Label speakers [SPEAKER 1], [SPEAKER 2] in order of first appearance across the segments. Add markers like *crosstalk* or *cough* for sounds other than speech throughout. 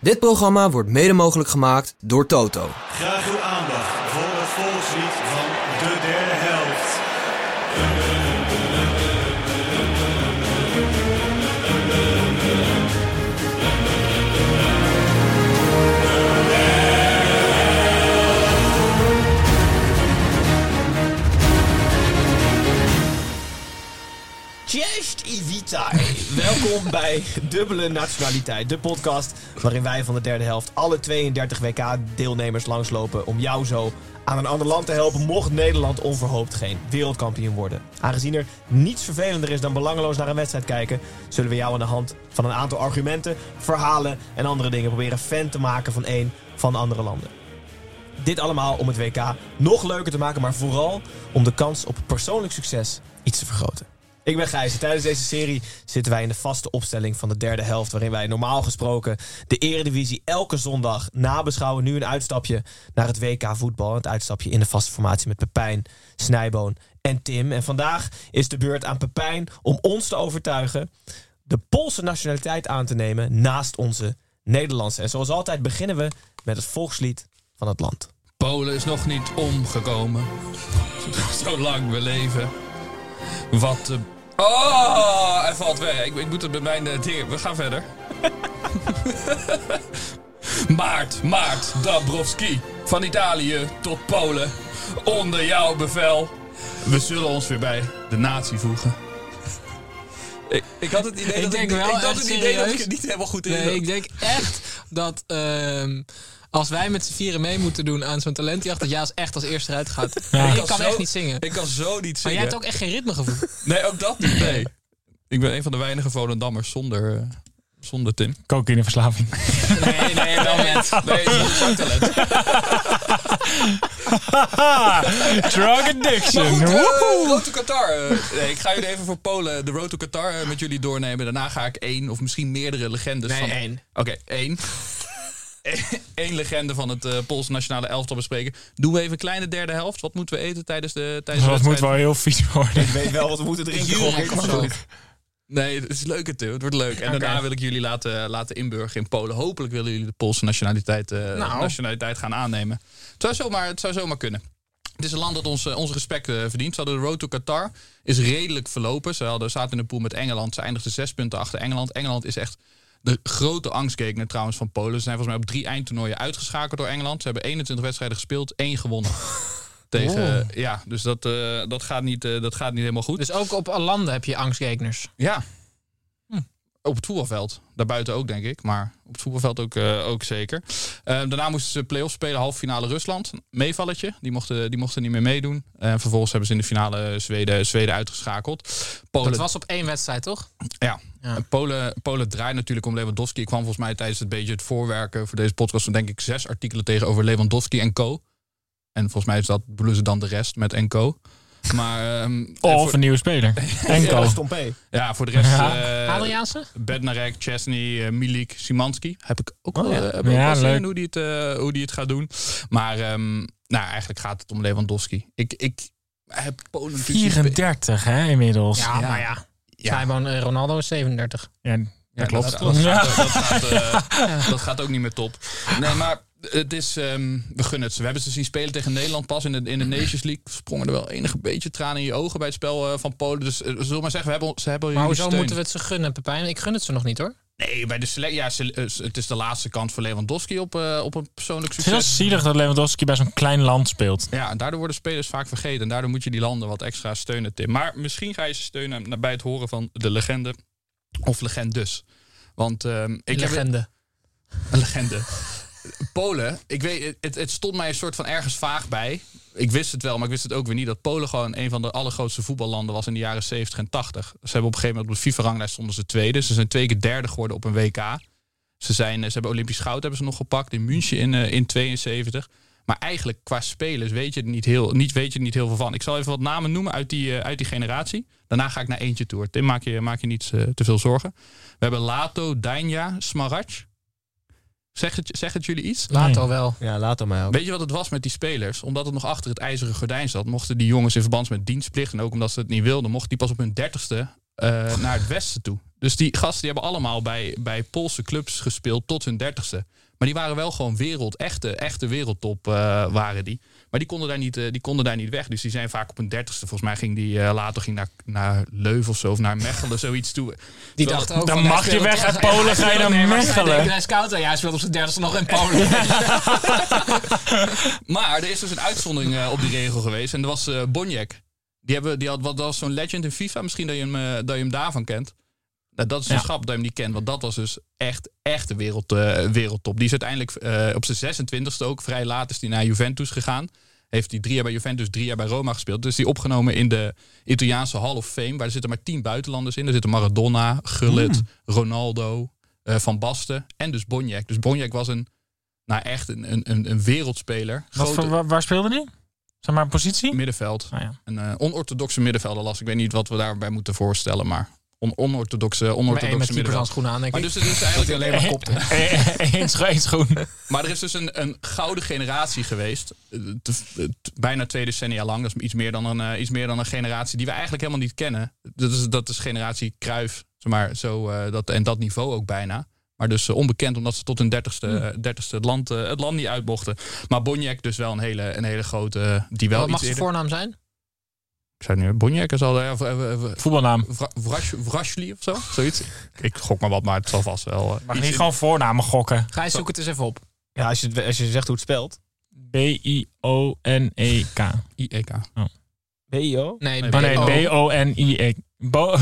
[SPEAKER 1] Dit programma wordt mede mogelijk gemaakt door Toto.
[SPEAKER 2] Graag uw aandacht voor het volkslied van de derde helft.
[SPEAKER 3] Cześć i witaj. Welkom bij Dubbele Nationaliteit, de podcast waarin wij van de derde helft alle 32 WK-deelnemers langslopen om jou zo aan een ander land te helpen mocht Nederland onverhoopt geen wereldkampioen worden. Aangezien er niets vervelender is dan belangeloos naar een wedstrijd kijken, zullen we jou aan de hand van een aantal argumenten, verhalen en andere dingen proberen fan te maken van één van de andere landen. Dit allemaal om het WK nog leuker te maken, maar vooral om de kans op persoonlijk succes iets te vergroten. Ik ben Gijs en tijdens deze serie zitten wij in de vaste opstelling van de derde helft... waarin wij normaal gesproken de Eredivisie elke zondag nabeschouwen. Nu een uitstapje naar het WK voetbal. Het uitstapje in de vaste formatie met Pepijn, Snijboon en Tim. En vandaag is de beurt aan Pepijn om ons te overtuigen... de Poolse nationaliteit aan te nemen naast onze Nederlandse. En zoals altijd beginnen we met het volkslied van het land.
[SPEAKER 4] Polen is nog niet omgekomen. *laughs* Zolang we leven. Wat. eh, Oh, hij valt weg. Ik, ik moet het bij mijn eh, dingen. We gaan verder. *laughs* Maart, Maart, Dabrowski. Van Italië tot Polen. Onder jouw bevel. We zullen ons weer bij de natie voegen. Ik, ik had het idee
[SPEAKER 5] Ik
[SPEAKER 4] dat
[SPEAKER 5] denk
[SPEAKER 4] ik,
[SPEAKER 5] wel
[SPEAKER 4] ik had
[SPEAKER 5] echt
[SPEAKER 4] het idee dat ik
[SPEAKER 5] serieus.
[SPEAKER 4] het niet helemaal goed in
[SPEAKER 5] Nee,
[SPEAKER 4] zat.
[SPEAKER 5] ik denk echt dat ehm, als wij met z'n vieren mee moeten doen aan zo'n talentjacht, dat Jaas echt als eerste eruit gaat. Ik kan
[SPEAKER 4] zo-
[SPEAKER 5] echt niet zingen.
[SPEAKER 4] Ik kan zo niet zingen.
[SPEAKER 5] Maar jij hebt ook echt geen ritmegevoel.
[SPEAKER 4] Nee, ook dat niet. Nee. Ik ben een van de weinige Volendammers zonder, eh, zonder Tim.
[SPEAKER 6] cocaïneverslaving.
[SPEAKER 5] Nee, nee, wel met.
[SPEAKER 4] Nee, zangtalent.
[SPEAKER 6] Drug addiction. *laughs*
[SPEAKER 4] Goed, eh,
[SPEAKER 6] Woehoe.
[SPEAKER 4] Road to Qatar. eh, nee, ik ga jullie even voor Polen de Road to Qatar eh, met jullie doornemen. Daarna ga ik één of misschien meerdere legendes
[SPEAKER 5] Nee,
[SPEAKER 4] van...
[SPEAKER 5] één.
[SPEAKER 4] Oké, één. *laughs* Eén legende van het eh Poolse nationale elftal bespreken. Doen we even een kleine derde helft. Wat moeten we eten tijdens de tijdens
[SPEAKER 6] Dat
[SPEAKER 4] de
[SPEAKER 6] moet wel
[SPEAKER 4] wedstrijd?
[SPEAKER 6] heel vies worden.
[SPEAKER 3] Ik weet wel wat we moeten drinken.
[SPEAKER 5] Jurek of zo.
[SPEAKER 4] Nee, het is leuk het, Tim. het wordt leuk. En daarna wil ik jullie laten, laten inburgen in Polen. Hopelijk willen jullie de Poolse nationaliteit, eh, nationaliteit gaan aannemen. Het zou, zomaar, het zou zomaar kunnen. Het is een land dat ons, eh, ons respect eh, verdient. Ze hadden de road to Qatar. Is redelijk verlopen. Ze hadden, zaten in de pool met Engeland. Ze eindigden zes punten achter Engeland. Engeland is echt de grote angstkekener trouwens van Polen. Ze zijn volgens mij op drie eindtoernooien uitgeschakeld door Engeland. Ze hebben 21 wedstrijden gespeeld. één gewonnen. Tegen, Ja, dus dat, eh, dat, gaat niet, eh, dat gaat niet helemaal goed.
[SPEAKER 5] Dus ook op landen heb je angstgekeners.
[SPEAKER 4] Ja. Op het voetbalveld. Daarbuiten ook, denk ik. Maar op het voetbalveld ook, eh, ook zeker. Eh, daarna moesten ze play-offs spelen, halve finale Rusland. Meevalletje. Die mochten, die mochten niet meer meedoen. En vervolgens hebben ze in de finale Zweden, Zweden uitgeschakeld. Polen,
[SPEAKER 5] Dat was op één wedstrijd, toch?
[SPEAKER 4] ja.
[SPEAKER 5] Ja.
[SPEAKER 4] En Polen, Polen draait natuurlijk om Lewandowski. Ik kwam volgens mij tijdens het beetje het voorwerken voor deze podcast... van denk ik zes artikelen tegen over Lewandowski en co. En volgens mij is dat bedoelen ze dan de rest met en co. Maar, ehm, en
[SPEAKER 6] Of
[SPEAKER 4] voor-
[SPEAKER 6] een nieuwe speler. *laughs* Enkel.
[SPEAKER 3] Stompé.
[SPEAKER 4] ja, voor de rest... eh,
[SPEAKER 5] Adriaanse?
[SPEAKER 4] Bednarek, Chesney, eh, Milik, Simanski. Heb ik ook wel, eh, heb ik
[SPEAKER 6] Oh Ja,
[SPEAKER 4] ook wel zin
[SPEAKER 6] leuk.
[SPEAKER 4] in hoe die, het, eh, hoe die het gaat doen. Maar ehm, nou, eigenlijk gaat het om Lewandowski. Ik, ik heb Polen natuurlijk... zien spelen.
[SPEAKER 6] 34 hè, inmiddels.
[SPEAKER 5] Ja, maar ja.
[SPEAKER 4] Ja.
[SPEAKER 5] Snijboon, eh, Ronaldo is 37.
[SPEAKER 6] Ja,
[SPEAKER 4] Ja,
[SPEAKER 6] dat klopt.
[SPEAKER 4] Dat, dat
[SPEAKER 6] Ja.
[SPEAKER 4] gaat, dat, gaat,
[SPEAKER 6] *laughs*
[SPEAKER 4] eh, dat gaat ook niet meer top. Nee, maar het is, ehm, we gunnen het ze. We hebben ze zien spelen tegen Nederland pas in de, in de Nations League. Sprongen er wel enige beetje tranen in je ogen bij het spel eh, van Polen. Dus eh, zullen we maar zeggen, we hebben, ze hebben
[SPEAKER 5] Maar
[SPEAKER 4] jullie
[SPEAKER 5] hoezo
[SPEAKER 4] steun.
[SPEAKER 5] moeten we het ze gunnen, Pepijn? Ik gun het ze nog niet, hoor.
[SPEAKER 4] Nee, bij de select, ja, sele- eh, het is de laatste kans voor Lewandowski op, eh, op een persoonlijk
[SPEAKER 6] Het is heel
[SPEAKER 4] succes.
[SPEAKER 6] zielig dat Lewandowski bij zo'n klein land speelt.
[SPEAKER 4] Ja, en daardoor worden spelers vaak vergeten. En daardoor moet je die landen wat extra steunen, Tim. Maar misschien ga je ze steunen na- bij het horen van de legende. Of legendes. Want ehm, ik heb
[SPEAKER 5] Legende.
[SPEAKER 4] een *laughs* legende. Polen, ik weet, het, het stond mij een soort van ergens vaag bij. Ik wist het wel, maar ik wist het ook weer niet. Dat Polen gewoon een van de allergrootste voetballanden was in de jaren 70 en 80. Ze hebben op een gegeven moment op de FIFA-ranglijst stonden ze tweede. Ze zijn twee keer derde geworden op een WK. Ze, zijn, eh, ze hebben Olympisch goud hebben ze nog gepakt in München in, eh, in 72. Maar eigenlijk qua spelers weet je, er niet heel, niet, weet je er niet heel veel van. Ik zal even wat namen noemen uit die, eh, uit die generatie. Daarna ga ik naar eentje toe. hoor. Tim, maak je, maak je niet eh, te veel zorgen. We hebben Lato, Danja, Smarac. Zegt het, zegt het jullie iets?
[SPEAKER 5] Laat al wel.
[SPEAKER 3] Ja, laat hem mij ook.
[SPEAKER 4] Weet je wat het was met die spelers? Omdat het nog achter het ijzeren gordijn zat, mochten die jongens in verband met dienstplicht en ook omdat ze het niet wilden, mochten die pas op hun dertigste eh, naar het westen toe. Dus die gasten die hebben allemaal bij, bij Poolse clubs gespeeld tot hun dertigste. Maar die waren wel gewoon wereld, echte, echte wereldtop eh, waren die. Maar die konden, daar niet, eh, die konden daar niet weg. Dus die zijn vaak op hun dertigste. Volgens mij ging die eh, later ging naar, naar Leuven of zo. Of naar Mechelen, zoiets toe.
[SPEAKER 5] Die
[SPEAKER 4] Terwijl-
[SPEAKER 5] dacht ook.
[SPEAKER 6] Dan
[SPEAKER 5] van, hij
[SPEAKER 6] mag je
[SPEAKER 5] speelt-
[SPEAKER 6] weg uit Polen,
[SPEAKER 5] Ja,
[SPEAKER 6] ga je naar
[SPEAKER 5] nee, maar
[SPEAKER 6] Mechelen.
[SPEAKER 5] zij denken, Hij is koud en ja, hij speelt op zijn dertigste nog in Polen.
[SPEAKER 4] Maar er is dus een uitzondering eh, op die regel geweest. En dat was eh Bonjek. Die, hebben, die had wat dat was zo'n legend in FIFA. Misschien dat je hem, eh, dat je hem daarvan kent. Nou, dat is een
[SPEAKER 6] Ja.
[SPEAKER 4] schap dat je hem niet kent. Want dat was dus echt, echt de wereld, eh, wereldtop. Die is uiteindelijk eh, op zijn 26e ook. Vrij laat is die naar Juventus gegaan. Heeft hij drie jaar bij Juventus, drie jaar bij Roma gespeeld. Dus die opgenomen in de Italiaanse Hall of Fame. Waar er zitten maar tien buitenlanders in. Er zitten Maradona, Gullit,
[SPEAKER 6] Hmm.
[SPEAKER 4] Ronaldo, eh, Van Basten en dus Bonjek. Dus Bonjek was een, nou echt een, een, een, een wereldspeler.
[SPEAKER 6] Wat
[SPEAKER 4] Grote-
[SPEAKER 6] voor, wa- waar speelde die? Zeg maar positie?
[SPEAKER 4] middenveld.
[SPEAKER 6] Ah, ja.
[SPEAKER 4] Een eh, onorthodoxe middenvelder las. Ik weet niet wat we daarbij moeten voorstellen, maar on onorthodoxe,
[SPEAKER 5] Maar één met
[SPEAKER 4] onorthodoxe
[SPEAKER 5] keepers aan
[SPEAKER 4] middenveld.
[SPEAKER 5] schoenen aan, denk
[SPEAKER 4] Maar
[SPEAKER 5] ik.
[SPEAKER 4] dus het is eigenlijk alleen maar kopte.
[SPEAKER 6] Eén scho- één schoen.
[SPEAKER 4] *laughs* Maar er is dus een, een gouden generatie geweest. eh, te- te- bijna twee decennia lang. Dat is iets meer, dan een, eh, iets meer dan een generatie die we eigenlijk helemaal niet kennen. Dat is, dat is generatie Kruif. Zeg maar, zo, eh, dat, en dat niveau ook bijna. Maar dus eh, onbekend omdat ze tot hun dertigste,
[SPEAKER 5] Hmm.
[SPEAKER 4] eh, dertigste het, land, eh, het land niet uitmochten. Maar Bonjek dus wel een hele, een hele grote. eh, Die wel
[SPEAKER 5] Wat mag
[SPEAKER 4] iets
[SPEAKER 5] zijn
[SPEAKER 4] eerder...
[SPEAKER 5] voornaam zijn?
[SPEAKER 4] Ik zei nu, Bonjek is al... eh, v- v- v-
[SPEAKER 6] Voetbalnaam.
[SPEAKER 4] Vra- Vrash, Vrashli of zo? Zoiets. Ik gok maar wat, maar het zal vast wel. eh,
[SPEAKER 6] Mag
[SPEAKER 4] iets
[SPEAKER 6] niet
[SPEAKER 4] in-
[SPEAKER 6] gewoon voornamen gokken.
[SPEAKER 5] Ga je zoek het eens even op.
[SPEAKER 3] Ja, als je, het- als je zegt hoe het spelt.
[SPEAKER 6] B-I-O-N-E-K.
[SPEAKER 4] IEK.
[SPEAKER 3] BIO.
[SPEAKER 5] Nee,
[SPEAKER 4] Nee,
[SPEAKER 5] B-
[SPEAKER 6] Oh nee,
[SPEAKER 5] O.
[SPEAKER 6] B-O-N-I-E. E Bo-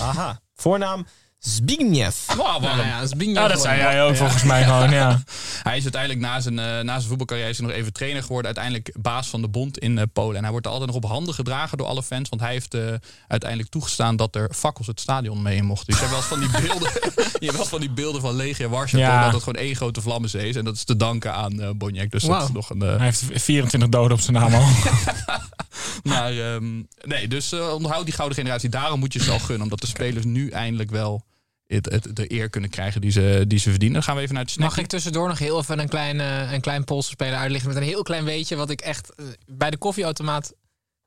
[SPEAKER 3] Aha. Voornaam Zbigniew.
[SPEAKER 4] Wauw, waarom?
[SPEAKER 5] Nou ja, dat is Bingo
[SPEAKER 6] *laughs* Ja, Ah, dat
[SPEAKER 5] geworden.
[SPEAKER 6] zei jij ook volgens mij gewoon, ja.
[SPEAKER 4] Hij is uiteindelijk na zijn, eh, na zijn voetbalcarrière is hij nog even trainer geworden. Uiteindelijk baas van de bond in eh, Polen. En hij wordt er altijd nog op handen gedragen door alle fans. Want hij heeft eh, uiteindelijk toegestaan dat er fakkels het stadion mee in mochten. Dus je hebt wel eens van die beelden, *laughs* je hebt wel eens van die beelden van Legia Warschau.
[SPEAKER 6] Ja.
[SPEAKER 4] Dat het gewoon één grote vlammenzee is. En dat is te danken aan eh Bonjek. Dus dat
[SPEAKER 5] Wauw.
[SPEAKER 4] is nog een... eh,
[SPEAKER 6] Hij heeft 24 doden op zijn naam al.
[SPEAKER 4] Maar ehm, nee, dus eh, onthoud die gouden generatie. Daarom moet je ze al gunnen. Omdat de spelers nu eindelijk wel het, het, de eer kunnen krijgen die ze, die ze verdienen. Dan gaan we even naar het snack.
[SPEAKER 5] Mag ik tussendoor nog heel even een klein, eh, een klein Poolse speler uitlichten met een heel klein weetje wat ik echt eh, bij de koffieautomaat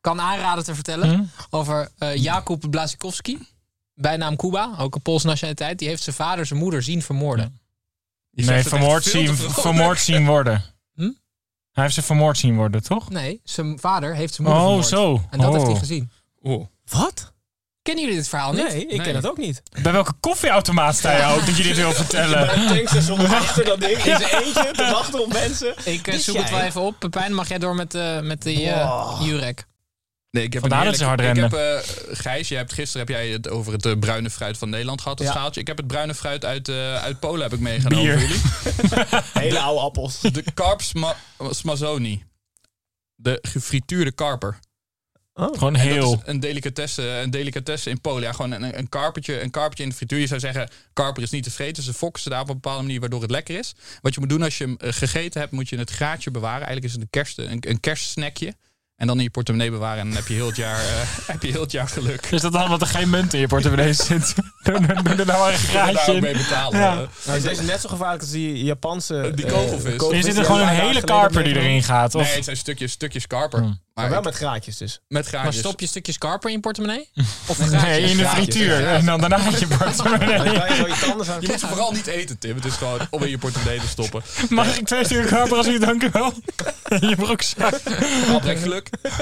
[SPEAKER 5] kan aanraden te vertellen
[SPEAKER 6] Hm?
[SPEAKER 5] over eh Jakub Blazikowski, bijnaam Kuba, ook een Poolse nationaliteit. Die heeft zijn vader zijn moeder zien vermoorden.
[SPEAKER 6] Nee, vermoord zien, *laughs* vermoord zien worden.
[SPEAKER 5] Hm?
[SPEAKER 6] Hij heeft ze vermoord zien worden, toch?
[SPEAKER 5] Nee, zijn vader heeft zijn moeder
[SPEAKER 6] Oh,
[SPEAKER 5] vermoord.
[SPEAKER 6] zo.
[SPEAKER 5] En dat
[SPEAKER 6] Oh.
[SPEAKER 5] heeft hij gezien.
[SPEAKER 3] Wat?
[SPEAKER 5] Kennen jullie dit verhaal niet?
[SPEAKER 3] Nee, ik ken het ook Oh, niet.
[SPEAKER 6] Bij welke koffieautomaat sta je ook dat je dit wil *laughs*
[SPEAKER 3] *laughs*
[SPEAKER 6] vertellen?
[SPEAKER 3] tankstation achter dat ding in zijn eentje te wachten op mensen.
[SPEAKER 5] Ik eh,
[SPEAKER 3] Wist
[SPEAKER 5] zoek het
[SPEAKER 3] jij?
[SPEAKER 5] wel even op. Pepijn, mag jij door met, eh, met die eh,
[SPEAKER 3] Wow.
[SPEAKER 5] Jurek?
[SPEAKER 4] Nee, ik heb
[SPEAKER 6] Vandaar
[SPEAKER 4] een
[SPEAKER 6] dat ze
[SPEAKER 4] heerlijke-
[SPEAKER 6] hard
[SPEAKER 4] Ik heb, eh, Gijs, jij hebt, gisteren heb jij het over het eh, bruine fruit van Nederland gehad. Het
[SPEAKER 3] Ja.
[SPEAKER 4] schaaltje. Ik heb het bruine fruit uit, eh, uit Polen heb ik meegenomen
[SPEAKER 6] Bier.
[SPEAKER 4] voor jullie.
[SPEAKER 3] Hele oude appels.
[SPEAKER 4] De karp sma- smazoni. De gefrituurde karper.
[SPEAKER 6] Gewoon
[SPEAKER 4] Dat
[SPEAKER 6] heel.
[SPEAKER 4] is een delicatesse, een delicatesse in Polen. Ja, gewoon een, een, karpertje, een karpertje in de frituur. Je zou zeggen, karper is niet te vreten. Ze fokken ze daar op een bepaalde manier waardoor het lekker is. Wat je moet doen als je hem eh, gegeten hebt, moet je het graadje bewaren. Eigenlijk is het een, kerst, een, een kerstsnackje. En dan in je portemonnee bewaren. En dan heb je heel het jaar, eh, *laughs* heb je heel het jaar geluk.
[SPEAKER 6] Is dat dan omdat er geen munt in je *laughs* portemonnee zit? Doe er- doe
[SPEAKER 4] Kunnen
[SPEAKER 6] er nou maar een
[SPEAKER 4] we daar
[SPEAKER 6] graadje
[SPEAKER 4] ook mee
[SPEAKER 6] in.
[SPEAKER 4] betalen.
[SPEAKER 6] Ja.
[SPEAKER 4] eh.
[SPEAKER 3] Nou, deze is net zo gevaarlijk als die Japanse...
[SPEAKER 4] Die
[SPEAKER 3] eh,
[SPEAKER 4] kogelvis.
[SPEAKER 6] Er zit
[SPEAKER 3] die
[SPEAKER 6] er gewoon een
[SPEAKER 3] wij
[SPEAKER 6] hele
[SPEAKER 3] dagen geleden
[SPEAKER 6] karper die
[SPEAKER 3] hebben.
[SPEAKER 6] erin gaat.
[SPEAKER 4] Nee,
[SPEAKER 6] Of
[SPEAKER 4] het zijn stukjes, stukjes karper.
[SPEAKER 6] Hmm.
[SPEAKER 4] Maar,
[SPEAKER 3] wel
[SPEAKER 4] ik-
[SPEAKER 3] met graatjes dus.
[SPEAKER 4] met
[SPEAKER 5] Maar
[SPEAKER 4] graadjes.
[SPEAKER 5] stop je stukjes karper in je
[SPEAKER 6] *laughs*
[SPEAKER 5] portemonnee? Of
[SPEAKER 6] Ah, nee, in de
[SPEAKER 3] graadjes.
[SPEAKER 6] frituur. En dan daarna *laughs* uit je
[SPEAKER 3] Dan
[SPEAKER 6] portemonnee.
[SPEAKER 3] kan je zo je tanden aan...
[SPEAKER 4] Je moet ze vooral niet eten, Tim. Het is gewoon om in je portemonnee te stoppen.
[SPEAKER 6] Mag ik twee stukken karper als u dank u *laughs* wel? In je broekzak.
[SPEAKER 4] Had en geluk. *laughs*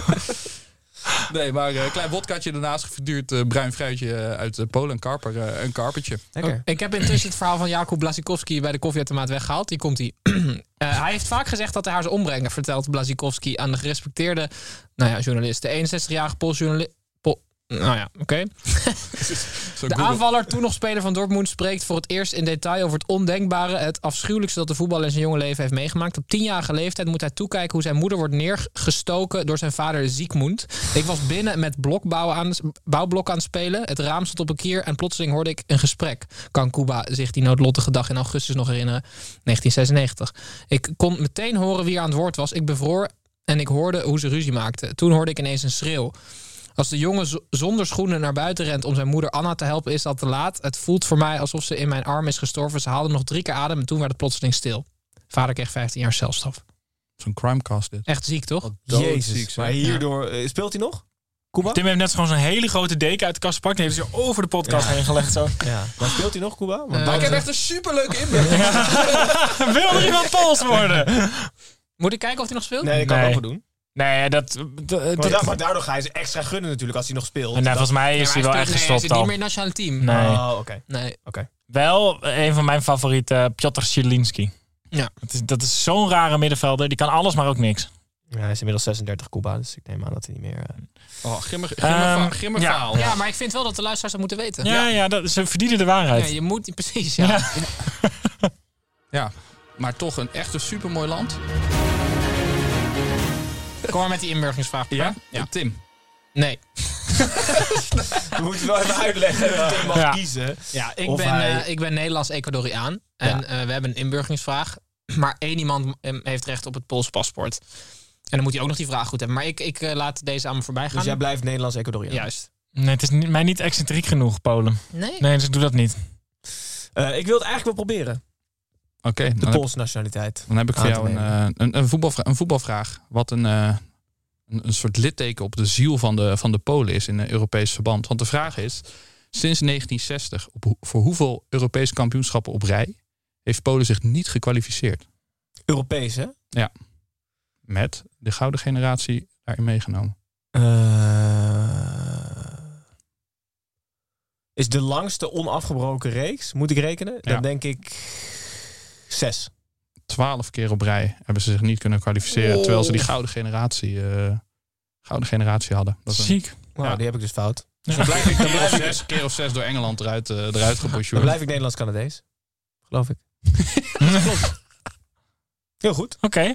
[SPEAKER 4] Nee, maar eh, een klein wodkaatje daarnaast geverduurd eh, bruin fruitje eh, uit eh, Polen. Een, karper, eh, een karpertje.
[SPEAKER 6] Oh,
[SPEAKER 3] Lekker.
[SPEAKER 5] Ik heb intussen het verhaal van Jakub Blazikowski bij de koffieautomaat weggehaald. Die komt ie. *clears throat* Eh, hij heeft vaak gezegd dat hij haar zou ombrengen, vertelt Blazikowski aan de gerespecteerde nou ja, journalist. De 61-jarige Pools journalist. nou ja, oké.
[SPEAKER 4] Zo
[SPEAKER 5] De
[SPEAKER 4] Google.
[SPEAKER 5] aanvaller, toen nog speler van Dortmund, spreekt voor het eerst in detail over het ondenkbare, het afschuwelijkste dat de voetballer in zijn jonge leven heeft meegemaakt. Op tienjarige leeftijd moet hij toekijken hoe zijn moeder wordt neergestoken door zijn vader Ziekmoed. Ik was binnen met blokbouw aan, bouwblok aan het spelen. Het raam stond op een kier en plotseling hoorde ik een gesprek. Kan Cuba zich die noodlottige dag in augustus nog herinneren? 1996. Ik kon meteen horen wie er aan het woord was. Ik bevroor en ik hoorde hoe ze ruzie maakten. Toen hoorde ik ineens een schreeuw. Als de jongen z- zonder schoenen naar buiten rent om zijn moeder Anna te helpen, is dat te laat. Het voelt voor mij alsof ze in mijn arm is gestorven. Ze haalde nog drie keer adem en toen werd het plotseling stil. Vader kreeg 15 jaar celstraf.
[SPEAKER 4] Zo'n crimecast dit.
[SPEAKER 5] Echt ziek, toch?
[SPEAKER 4] Doodziek,
[SPEAKER 3] Jezus.
[SPEAKER 4] zeg.
[SPEAKER 3] Maar hierdoor... eh, speelt hij nog? Kuba?
[SPEAKER 6] Tim heeft net gewoon zo'n hele grote deken uit de kast gepakt. Die heeft ze over de podcast heen gelegd. Zo.
[SPEAKER 3] Ja. Waar speelt hij nog, Kuba? Want
[SPEAKER 5] Eh,
[SPEAKER 3] dan-
[SPEAKER 4] ik heb echt een superleuke inbreng.
[SPEAKER 6] *laughs* Wil er iemand Pools worden?
[SPEAKER 5] Moet ik kijken of hij nog speelt?
[SPEAKER 3] Nee, dat kan ik
[SPEAKER 6] Nee.
[SPEAKER 3] ook wel doen.
[SPEAKER 6] Nee, dat...
[SPEAKER 4] Oh,
[SPEAKER 6] dat,
[SPEAKER 3] Maar,
[SPEAKER 6] dat-
[SPEAKER 3] da- maar daardoor ga je ze extra gunnen natuurlijk als hij nog speelt.
[SPEAKER 6] nou,
[SPEAKER 3] Dat-
[SPEAKER 6] volgens mij
[SPEAKER 5] Ja,
[SPEAKER 6] is
[SPEAKER 5] maar
[SPEAKER 6] hij wel
[SPEAKER 5] speelt-
[SPEAKER 6] echt
[SPEAKER 5] nee, hij
[SPEAKER 6] gestopt
[SPEAKER 5] zit niet
[SPEAKER 6] al.
[SPEAKER 5] meer in het nationale team.
[SPEAKER 6] Nee.
[SPEAKER 3] Oh, oké.
[SPEAKER 5] Nee.
[SPEAKER 6] Wel een van mijn favorieten, Piotr Zielinski.
[SPEAKER 5] Ja.
[SPEAKER 6] Dat is, dat is zo'n rare middenvelder. Die kan alles, maar ook niks.
[SPEAKER 3] Ja, hij is inmiddels 36 Kuba, dus ik neem aan dat hij niet meer... eh,
[SPEAKER 4] *laughs* Oh, gimmer,
[SPEAKER 6] Ehm,
[SPEAKER 4] gimmer
[SPEAKER 6] ja.
[SPEAKER 4] verhaal.
[SPEAKER 5] Ja, maar ik vind wel dat de luisteraars dat moeten weten.
[SPEAKER 6] Ja, ja. dat, ze verdienen de waarheid.
[SPEAKER 5] Ja, je moet, *laughs* precies, ja.
[SPEAKER 4] Ja. Maar toch een echt een supermooi land.
[SPEAKER 5] Kom maar met die inburgingsvraag.
[SPEAKER 4] Ja? Tim.
[SPEAKER 5] Nee.
[SPEAKER 3] *laughs* We moeten wel even uitleggen dat Tim mag
[SPEAKER 6] Ja.
[SPEAKER 3] kiezen.
[SPEAKER 5] Ja, ik
[SPEAKER 3] Of
[SPEAKER 5] ben,
[SPEAKER 3] hij-
[SPEAKER 5] eh, ik ben Nederlands-Ecuadoriaan. En eh, we hebben een inburgingsvraag. Maar één iemand eh, heeft recht op het Pools paspoort. En dan moet hij ook nog die vraag goed hebben. Maar ik, ik eh, laat deze aan me voorbij gaan.
[SPEAKER 3] Dus jij blijft Nederlands Ecuadoriaan.
[SPEAKER 5] Juist.
[SPEAKER 6] Nee, het is niet- mij niet excentriek genoeg, Polen.
[SPEAKER 5] Nee.
[SPEAKER 6] Nee, dus ik doe dat niet.
[SPEAKER 3] Eh, ik wil het eigenlijk wel proberen.
[SPEAKER 4] Oké,
[SPEAKER 3] De
[SPEAKER 4] dan, heb-
[SPEAKER 3] Poolse nationaliteit.
[SPEAKER 4] dan heb ik voor
[SPEAKER 3] aan
[SPEAKER 4] jou
[SPEAKER 3] te
[SPEAKER 4] een, eh, een, een, voetbalvra- een voetbalvraag. Wat een, eh, een, een soort litteken op de ziel van de, van de Polen is in een Europees verband. Want de vraag is, sinds 1960, op hoe- voor hoeveel Europese kampioenschappen op rij heeft Polen zich niet gekwalificeerd?
[SPEAKER 3] Europees, hè?
[SPEAKER 4] Met de gouden generatie daarin meegenomen.
[SPEAKER 3] Eh, is de langste onafgebroken reeks, moet ik rekenen?
[SPEAKER 4] Ja.
[SPEAKER 3] Dan denk ik zes.
[SPEAKER 4] Twaalf keer op rij hebben ze zich niet kunnen kwalificeren. Terwijl ze die gouden generatie, eh, gouden generatie hadden. Dat is een-
[SPEAKER 6] Ziek. *laughs*
[SPEAKER 3] Nou,
[SPEAKER 4] Ja.
[SPEAKER 3] die heb ik dus fout.
[SPEAKER 4] Dus dan blijf ik, dan *laughs* blijf ik zes keer of zes door Engeland eruit, eh eruit
[SPEAKER 3] Dan
[SPEAKER 4] gebosjoerd.
[SPEAKER 3] blijf ik Nederlands-Canadees. Geloof ik. Heel goed.
[SPEAKER 6] Oké.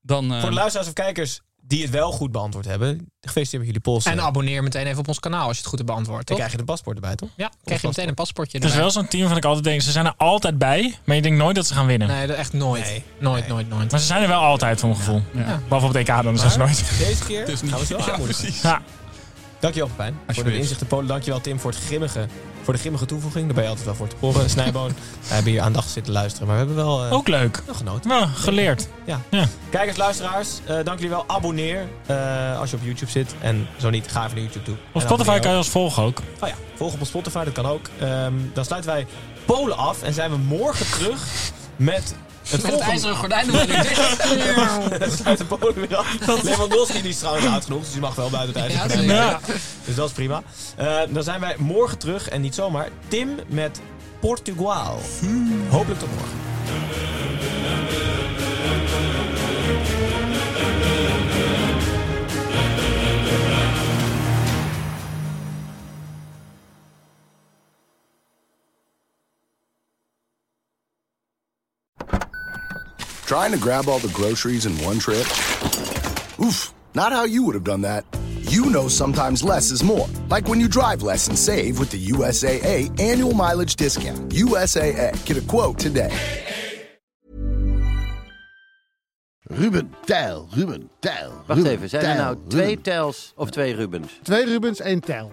[SPEAKER 4] Dan, eh,
[SPEAKER 3] Voor de luisteraars of kijkers die het wel goed beantwoord hebben, gefeliciteerd met jullie polsen.
[SPEAKER 5] En abonneer meteen even op ons kanaal als je het goed hebt beantwoord,
[SPEAKER 3] Dan
[SPEAKER 5] toch?
[SPEAKER 3] krijg je de paspoort erbij, toch?
[SPEAKER 5] Ja, krijg je meteen een paspoortje
[SPEAKER 6] Het is
[SPEAKER 5] erbij.
[SPEAKER 6] wel zo'n team van ik altijd denk, ze zijn er altijd bij, maar je denkt nooit dat ze gaan winnen.
[SPEAKER 5] Nee, dat echt nooit.
[SPEAKER 3] Nee.
[SPEAKER 5] Nooit,
[SPEAKER 3] Nee.
[SPEAKER 5] nooit, nooit.
[SPEAKER 6] Maar ze zijn er wel altijd voor mijn gevoel.
[SPEAKER 4] Ja. Ja.
[SPEAKER 6] Behalve op het EK dan, zijn ze nooit. *laughs*
[SPEAKER 3] Deze keer
[SPEAKER 4] is
[SPEAKER 3] gaan
[SPEAKER 4] niet-
[SPEAKER 3] we het wel
[SPEAKER 4] Ja,
[SPEAKER 3] aanmoedigen.
[SPEAKER 4] precies.
[SPEAKER 6] Ja,
[SPEAKER 3] Dankjewel, Pepijn. Voor de
[SPEAKER 4] Alsjeblieft.
[SPEAKER 3] inzichten, Polen. Dankjewel, Tim, voor, het grimmige, voor de grimmige toevoeging. Daar ben je altijd wel voor te horen. Snijboon. We hebben hier aandachtig zitten luisteren, maar we hebben wel, eh
[SPEAKER 6] ook leuk.
[SPEAKER 3] wel genoten.
[SPEAKER 6] Nou, geleerd.
[SPEAKER 3] Kijkers, luisteraars, eh, dank jullie wel. Abonneer eh, als je op YouTube zit. En zo niet, ga even naar YouTube toe.
[SPEAKER 6] Op
[SPEAKER 3] En
[SPEAKER 6] Spotify kan
[SPEAKER 3] abonneer
[SPEAKER 6] je ons volgen ook.
[SPEAKER 3] ook. Oh ja, volg op op Spotify, dat kan ook. Ehm, dan sluiten wij Polen af en zijn we morgen terug met het
[SPEAKER 5] Met het
[SPEAKER 3] volgende...
[SPEAKER 5] ijzeren gordijn doen
[SPEAKER 3] *laughs*
[SPEAKER 5] we nu dicht.
[SPEAKER 3] We sluiten Polen weer af. Lewandowski die is trouwens oud genoeg, dus die mag wel buiten het ijzer.
[SPEAKER 5] Ja,
[SPEAKER 3] gordijn.
[SPEAKER 5] zeker.
[SPEAKER 6] Ja.
[SPEAKER 3] Dus dat is prima. Eh, dan zijn wij morgen terug en niet zomaar. Tim met Portugal. Hopelijk tot morgen.
[SPEAKER 7] Trying to grab all the groceries in one trip? Oof, not how you would have done that. You know sometimes less is more. Like when you drive less and save with the USAA annual mileage discount. USAA, get a quote today.
[SPEAKER 8] Ruben, tijl, Ruben, tijl.
[SPEAKER 9] Wacht
[SPEAKER 8] Ruben,
[SPEAKER 9] even, zijn er
[SPEAKER 8] tijl,
[SPEAKER 9] nou
[SPEAKER 8] Ruben.
[SPEAKER 9] twee Tels of twee Rubens?
[SPEAKER 8] Twee Rubens, één tijl.